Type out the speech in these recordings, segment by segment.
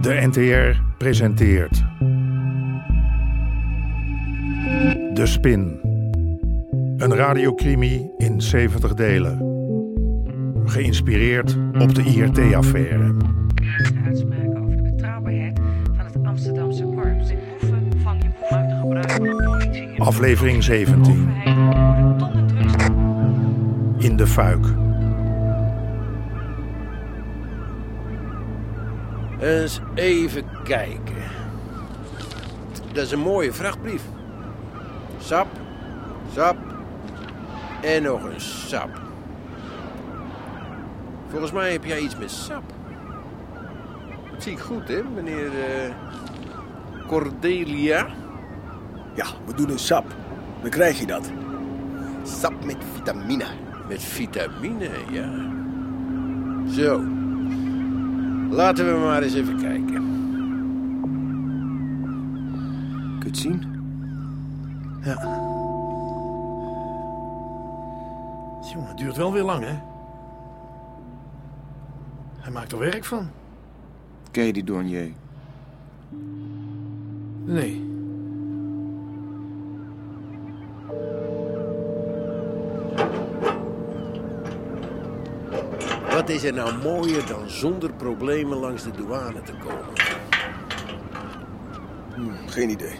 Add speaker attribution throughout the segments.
Speaker 1: De NTR presenteert. De Spin. Een radiocrimi in 70 delen. Geïnspireerd op de IRT-affaire.
Speaker 2: graag uitspraken over de betrouwbaarheid van het Amsterdamse korps. De boeven van je boeven uit gebruik van de politie en
Speaker 1: Aflevering 17.
Speaker 2: overheid worden tonnen drugs
Speaker 1: In de fuik.
Speaker 3: Eens even kijken. Dat is een mooie vrachtbrief. Sap, sap en nog een sap. Volgens mij heb jij iets met sap. Dat zie ik goed, hè, meneer eh, Cordelia?
Speaker 4: Ja, we doen een sap. Dan krijg je dat.
Speaker 5: Sap met vitamine.
Speaker 3: Met vitamine, ja. Zo. Laten we maar eens even kijken.
Speaker 4: Kun je het zien?
Speaker 6: Jongen, het duurt wel weer lang, hè? Hij maakt er werk van.
Speaker 4: Ken je die douanier?
Speaker 6: Nee.
Speaker 3: Wat is er nou mooier dan zonder problemen langs de douane te komen?
Speaker 4: Hmm, Geen idee.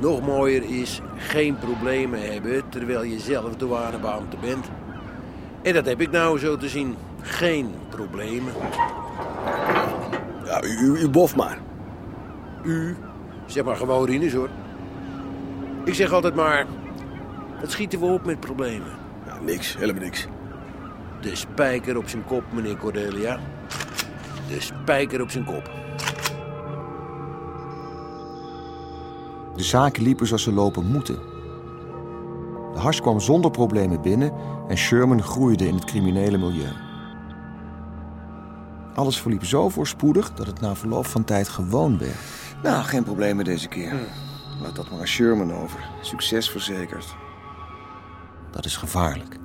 Speaker 3: Nog mooier is geen problemen hebben terwijl je zelf douanebeambte bent. En dat heb ik nou zo te zien. Geen problemen.
Speaker 4: Ja, u, u, u bof maar.
Speaker 3: U, zeg maar gewoon Rinus hoor. Ik zeg altijd maar, wat schieten we op met problemen?
Speaker 4: Ja, niks, helemaal niks.
Speaker 3: De spijker op zijn kop, meneer Cordelia. De spijker op zijn kop.
Speaker 7: De zaken liepen zoals ze lopen moeten. De hars kwam zonder problemen binnen en Sherman groeide in het criminele milieu. Alles verliep zo voorspoedig dat het na verloop van tijd gewoon werd.
Speaker 4: Nou, geen problemen deze keer. Laat dat maar aan Sherman over. Succes verzekerd.
Speaker 7: Dat is gevaarlijk.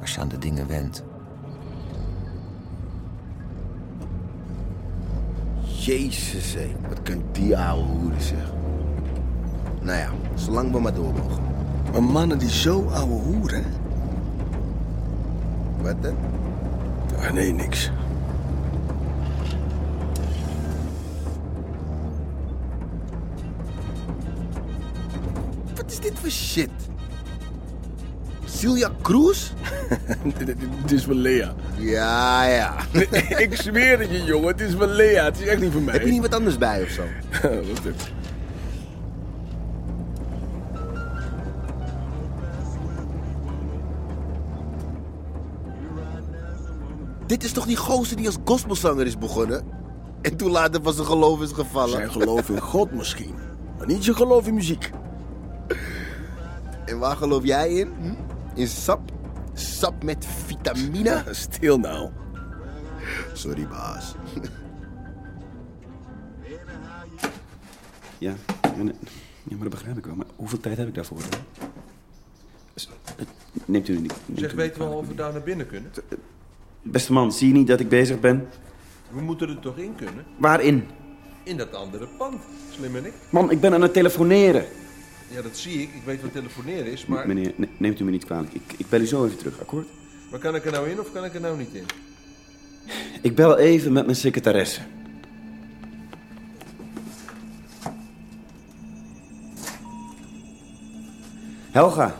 Speaker 7: Als je aan de dingen went.
Speaker 5: Jezus, hé. Wat kan die oude hoeren zeggen? Nou ja, zolang we maar door mogen.
Speaker 4: Maar mannen die zo ouwe hoeren.
Speaker 5: Wat dan?
Speaker 4: Ah, nee, niks.
Speaker 5: Wat is dit voor shit? Celia Cruz?
Speaker 4: Het is wel Lea.
Speaker 5: Ja, ja.
Speaker 4: Ik zweer het je, jongen. Het is wel Lea. Het is echt niet van mij. Oh,
Speaker 5: Heb je niet wat anders bij of zo?
Speaker 4: Wat dit?
Speaker 5: Dit is toch die gozer die als gospelzanger is begonnen? En toen later van zijn geloof is gevallen.
Speaker 4: Zijn geloof in God misschien. Maar niet zijn geloof in muziek.
Speaker 5: En waar geloof jij in?
Speaker 3: Hm?
Speaker 5: In sap? Sap met vitamine?
Speaker 4: Stil nou.
Speaker 5: Sorry, baas.
Speaker 8: Ja, en, ja, maar dat begrijp ik wel. Maar hoeveel tijd heb ik daarvoor? hè? S- eh, Neemt u niet. neemt u
Speaker 9: Zeg,
Speaker 8: niet
Speaker 9: weten we al
Speaker 8: kwalijk,
Speaker 9: of we daar naar binnen kunnen?
Speaker 8: meneer. Beste man, zie je niet dat ik bezig ben?
Speaker 9: We moeten er toch in kunnen?
Speaker 8: Waarin?
Speaker 9: In dat andere pand. Slim en ik.
Speaker 8: Man, ik ben aan het telefoneren.
Speaker 9: Ja, dat zie ik. Ik weet wat telefoneren is, maar...
Speaker 8: Meneer, ne- neemt u me niet kwalijk. Ik, ik bel u zo even terug, akkoord?
Speaker 9: Maar kan ik er nou in of kan ik er nou niet in?
Speaker 8: Ik bel even met mijn secretaresse. Helga.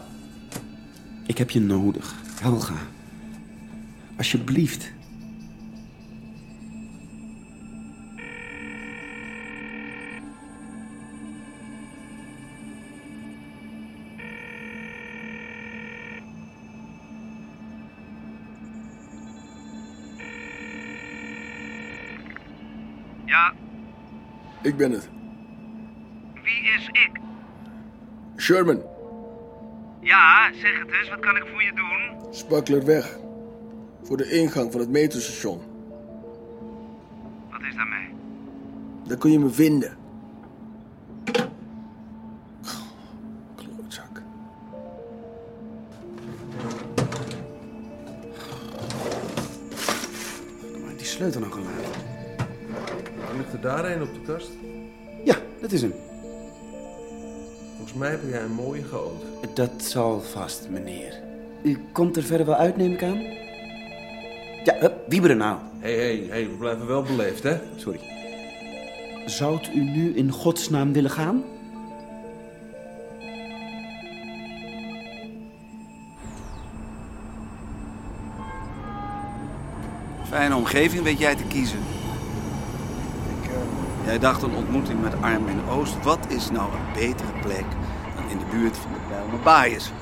Speaker 8: Ik heb je nodig. Helga. Alsjeblieft.
Speaker 4: Ik ben het.
Speaker 10: Wie is ik?
Speaker 4: Sherman,
Speaker 10: Ja, zeg het eens, wat kan ik voor je doen?
Speaker 4: Spaklerweg. Voor de ingang van het metrostation.
Speaker 10: Wat is daarmee?
Speaker 4: Daar kun je me vinden. Klootzak.
Speaker 8: Maar die
Speaker 11: sleutel nou gelaten?
Speaker 9: Nou, ligt er daar een op de kast?
Speaker 11: Ja, dat is hem.
Speaker 9: Volgens mij heb jij een mooie geoogd.
Speaker 11: Dat zal vast, meneer. U komt er verder wel uit, neem ik aan? Ja, hup, wieberen nou.
Speaker 9: Hé, hé, hé, we blijven wel beleefd, hè?
Speaker 11: Sorry. Zoudt u nu in godsnaam willen gaan?
Speaker 12: Fijne omgeving weet jij te kiezen. Jij dacht een ontmoeting met Arm in Oost. Wat is nou een betere plek dan in de buurt van de Bijlmer Baaiers?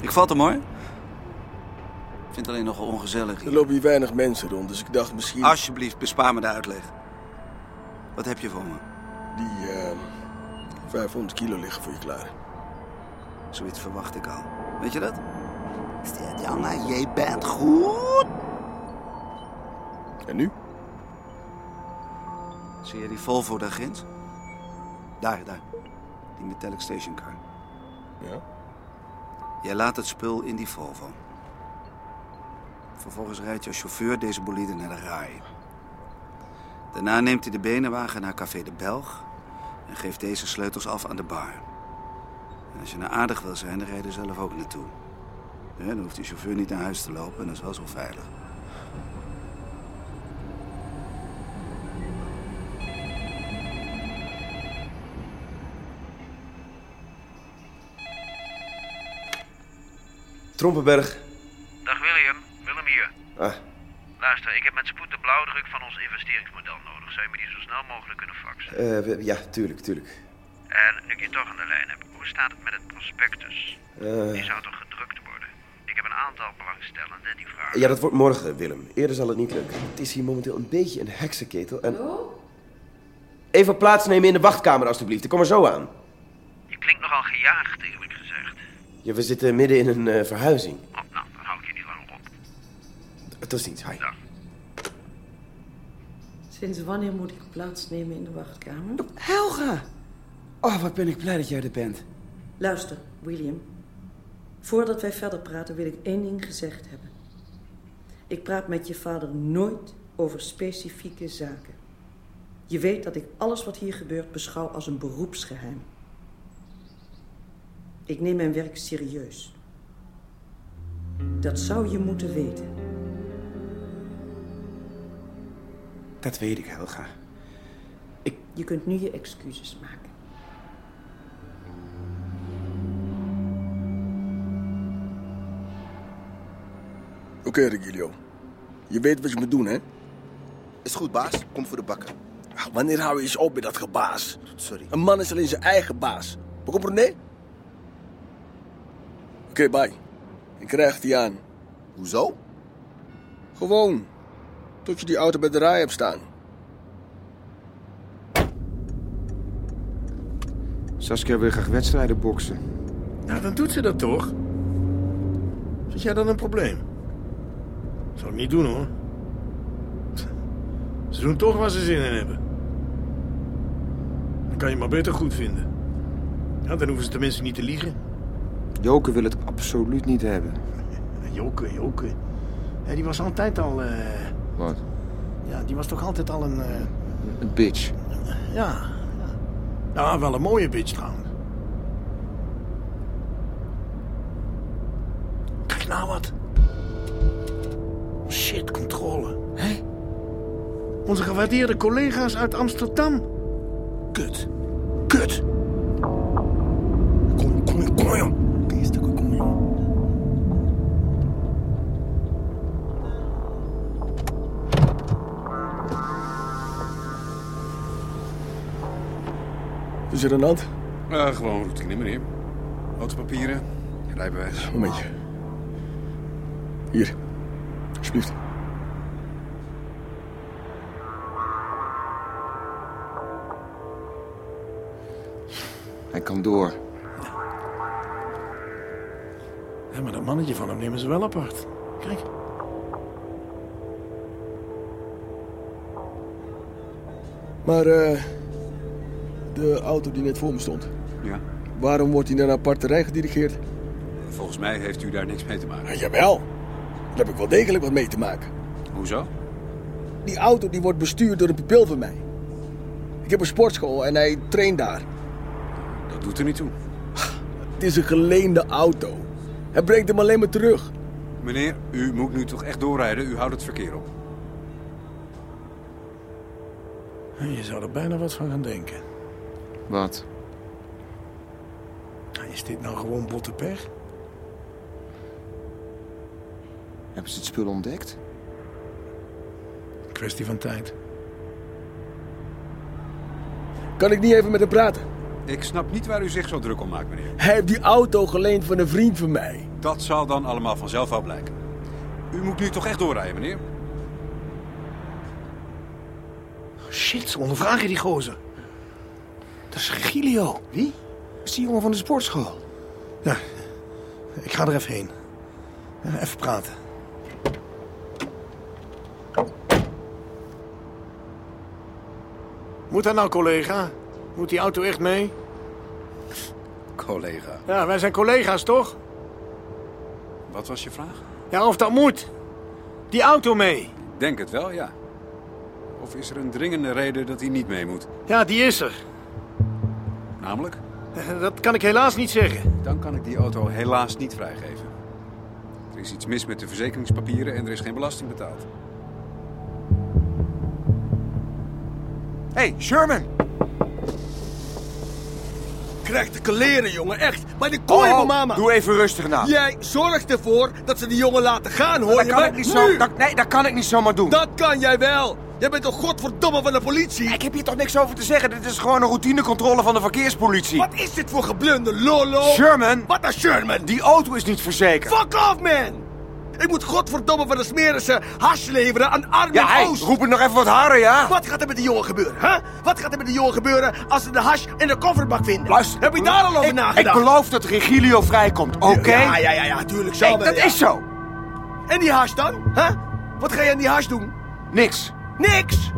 Speaker 12: Ik vat hem hoor. Ik vind het alleen nog ongezellig.
Speaker 3: Er lopen hier weinig mensen rond, dus ik dacht misschien...
Speaker 12: Alsjeblieft, bespaar me de uitleg. Wat heb je voor me?
Speaker 3: Die eh, 500 kilo liggen voor je klaar.
Speaker 12: Zoiets verwacht ik al. Weet je dat? Janne, jij bent goed.
Speaker 3: En nu?
Speaker 12: Zie je die Volvo daar ginds? Daar, daar. Die metallic stationcar.
Speaker 3: Ja?
Speaker 12: Jij laat het spul in die Volvo. Vervolgens rijdt jouw chauffeur deze bolide naar de RAI. Daarna neemt hij de benenwagen naar Café de Belg... en geeft deze sleutels af aan de bar. En als je nou aardig wil zijn, dan rijden je er zelf ook naartoe. Ja, dan hoeft die chauffeur niet naar huis te lopen en dat is wel zo veilig.
Speaker 8: Trompenberg.
Speaker 10: Dag William, Willem hier.
Speaker 8: Ah,
Speaker 10: Luister, ik heb met spoed de blauwdruk van ons investeringsmodel nodig. Zou je me die zo snel mogelijk kunnen faxen?
Speaker 8: eh, we- ja, tuurlijk, tuurlijk.
Speaker 10: En nu ik je toch aan de lijn heb, hoe staat het met het prospectus?
Speaker 8: Eh.
Speaker 10: Die zou toch gedrukt worden? Ik heb een aantal belangstellenden die vragen.
Speaker 8: Ja, dat wordt morgen, Willem. Eerder zal het niet lukken. Het is hier momenteel een beetje een heksenketel en... Even plaatsnemen in de wachtkamer, alstublieft. Ik kom er zo aan.
Speaker 10: Je klinkt nogal gejaagd, eerlijk gezegd.
Speaker 8: Ja, we zitten midden in een eh, verhuizing.
Speaker 10: Oh, nou, dan hou ik je niet langer op.
Speaker 8: Tot ziens, hi.
Speaker 2: Sinds wanneer moet ik plaatsnemen in de wachtkamer?
Speaker 8: Helga! Oh, wat ben ik blij dat jij er bent.
Speaker 2: Luister, William. Voordat wij verder praten wil ik één ding gezegd hebben. Ik praat met je vader nooit over specifieke zaken. Je weet dat ik alles wat hier gebeurt beschouw als een beroepsgeheim. Ik neem mijn werk serieus. Dat zou je moeten weten.
Speaker 8: Dat weet ik, Helga.
Speaker 2: Je kunt nu je excuses maken.
Speaker 3: Oké, Regilio. Je weet wat je moet doen, hè? Ah,
Speaker 12: Is goed, baas. Kom voor de bakken.
Speaker 3: Wanneer hou je eens op met dat gebaas?
Speaker 12: Sorry.
Speaker 3: Een man is alleen zijn eigen baas. Begrijp René? Oké, bye. Ik krijg die aan.
Speaker 12: Hoezo?
Speaker 3: Gewoon. Tot je die auto bij de rij hebt staan.
Speaker 13: Saskia wil graag wedstrijden boksen.
Speaker 14: Nou, dan doet ze dat toch? Vind jij dan een probleem? Zou ik niet doen hoor. Ze doen toch waar ze zin in hebben. Dan kan je maar beter goed vinden. Ja, dan hoeven ze tenminste niet te liegen.
Speaker 5: Joke wil het absoluut niet hebben.
Speaker 14: Joke, Joke. Ja, die was altijd al. eh,
Speaker 5: Wat?
Speaker 14: ja, die was toch altijd al een. eh,
Speaker 5: Een bitch.
Speaker 14: ja, ja. Nou, wel een mooie bitch trouwens. Kijk nou wat. Shit, controle. Hé? Onze gewaardeerde collega's uit Amsterdam. Kut. Kut. Kom, kom, kom, jong.
Speaker 3: Is er een hand?
Speaker 15: Eh, gewoon routine, meneer. Autopapieren, rijbewijs.
Speaker 3: Momentje. Hier. Alsjeblieft.
Speaker 5: Hij kan door.
Speaker 14: Ja, maar dat mannetje van hem nemen ze wel apart. Kijk.
Speaker 3: Maar eh, de auto die net voor me stond.
Speaker 15: Ja.
Speaker 3: Waarom wordt die naar een aparte rij gedirigeerd?
Speaker 15: Volgens mij heeft u daar niks mee te maken.
Speaker 3: Jawel. Daar heb ik wel degelijk wat mee te maken.
Speaker 15: Hoezo?
Speaker 5: Die auto die wordt bestuurd door een pupil van mij. Ik heb een sportschool en hij traint daar.
Speaker 12: Dat doet er niet toe.
Speaker 5: Het is een geleende auto. Hij brengt hem alleen maar terug.
Speaker 12: Meneer, u moet nu toch echt doorrijden. U houdt het verkeer op.
Speaker 3: Je zou er bijna wat van gaan denken.
Speaker 16: Wat?
Speaker 3: Is dit nou gewoon botte pech?
Speaker 16: Hebben ze het spul ontdekt?
Speaker 3: Kwestie van tijd.
Speaker 5: Kan ik niet even met hem praten?
Speaker 12: Ik snap niet waar u zich zo druk om maakt, meneer.
Speaker 5: Hij heeft die auto geleend van een vriend van mij.
Speaker 12: Dat zal dan allemaal vanzelf wel blijken. U moet nu toch echt doorrijden, meneer?
Speaker 3: Shit, ze ondervragen die gozer. Dat is Gilio. Wie? Dat is die jongen van de sportschool. Ja, ik ga er even heen. Ja, Even praten. Moet dat nou, collega? Moet die auto echt mee?
Speaker 12: Collega.
Speaker 3: Ja, wij zijn collega's, toch?
Speaker 12: Wat was je vraag?
Speaker 3: Ja, of dat moet. Die auto mee.
Speaker 12: Ik denk het wel, ja. Of is er een dringende reden dat hij niet mee moet?
Speaker 3: Ja, die is er.
Speaker 12: Namelijk?
Speaker 3: Dat kan ik helaas niet zeggen.
Speaker 12: Dan kan ik die auto helaas niet vrijgeven. Er is iets mis met de verzekeringspapieren en er is geen belasting betaald.
Speaker 3: hey, Sherman! Krijg de kleren, jongen, echt. Bij de kooi
Speaker 8: Oh,
Speaker 3: van mama.
Speaker 8: doe even rustig na.
Speaker 3: Jij zorgt ervoor dat ze die jongen laten gaan, hoor
Speaker 8: Dat
Speaker 3: je
Speaker 8: kan
Speaker 3: me?
Speaker 8: ik niet zo-
Speaker 3: Nu!
Speaker 8: dat- nee, dat kan ik niet zomaar doen.
Speaker 3: Dat kan jij wel. Jij bent toch godverdomme van de politie? Ik heb hier toch niks over te zeggen. Dit is gewoon een routinecontrole van de verkeerspolitie. Wat is dit voor geblunder, lolo?
Speaker 8: Sherman!
Speaker 3: Wat nou Sherman?
Speaker 8: Die auto is niet verzekerd.
Speaker 3: Fuck off, man! Ik moet godverdomme van de smerense hash leveren aan arme
Speaker 8: Ja, hey,
Speaker 3: Oost.
Speaker 8: roep het nog even wat harder, ja?
Speaker 3: Wat gaat er met die jongen gebeuren, hè? Wat gaat er met die jongen gebeuren als ze de hash in de kofferbak vinden? Luister. Heb je daar al over
Speaker 8: ik,
Speaker 3: nagedacht?
Speaker 8: Ik beloof dat Regilio vrijkomt, oké?
Speaker 3: Ja, ja, ja, ja, tuurlijk zo.
Speaker 8: Hey, dat is zo.
Speaker 3: En die hash dan? Hè? Wat ga je aan die hash doen?
Speaker 8: Niks.
Speaker 3: Niks?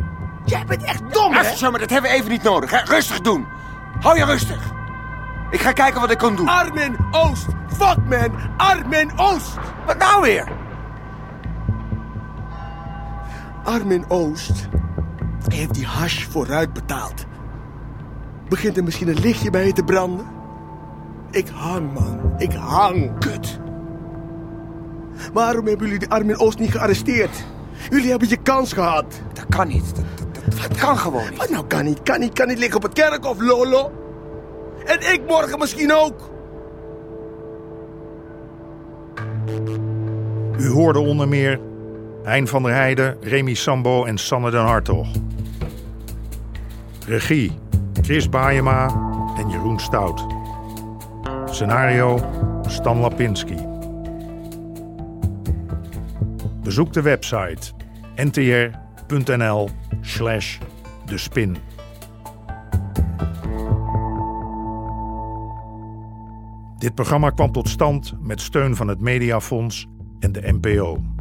Speaker 3: Jij bent echt dom, hè?
Speaker 8: Even zo, maar dat hebben we even niet nodig. Hè? Rustig doen. Hou je rustig. Ik ga kijken wat ik kan doen.
Speaker 3: Armin Oost! Fuck man! Armin Oost!
Speaker 8: Wat nou weer?
Speaker 5: Armin Oost heeft die hash vooruit betaald. Begint er misschien een lichtje bij je te branden? Ik hang, man. Ik hang. Kut. Waarom hebben jullie die Armin Oost niet gearresteerd? Jullie hebben je kans gehad.
Speaker 8: Dat kan niet. Dat, kan gewoon niet.
Speaker 5: Wat nou kan niet? Kan niet, kan niet liggen op het kerkhof, lolo. En ik morgen misschien ook.
Speaker 1: U hoorde onder meer Hein van der Heijden, Remy Sambo en Sanne den Hartog. Regie Chris Baayema en Jeroen Stout. Scenario Stan Lapinski. Bezoek de website ntr.nl slash de spin. Dit programma kwam tot stand met steun van het Mediafonds en de NPO.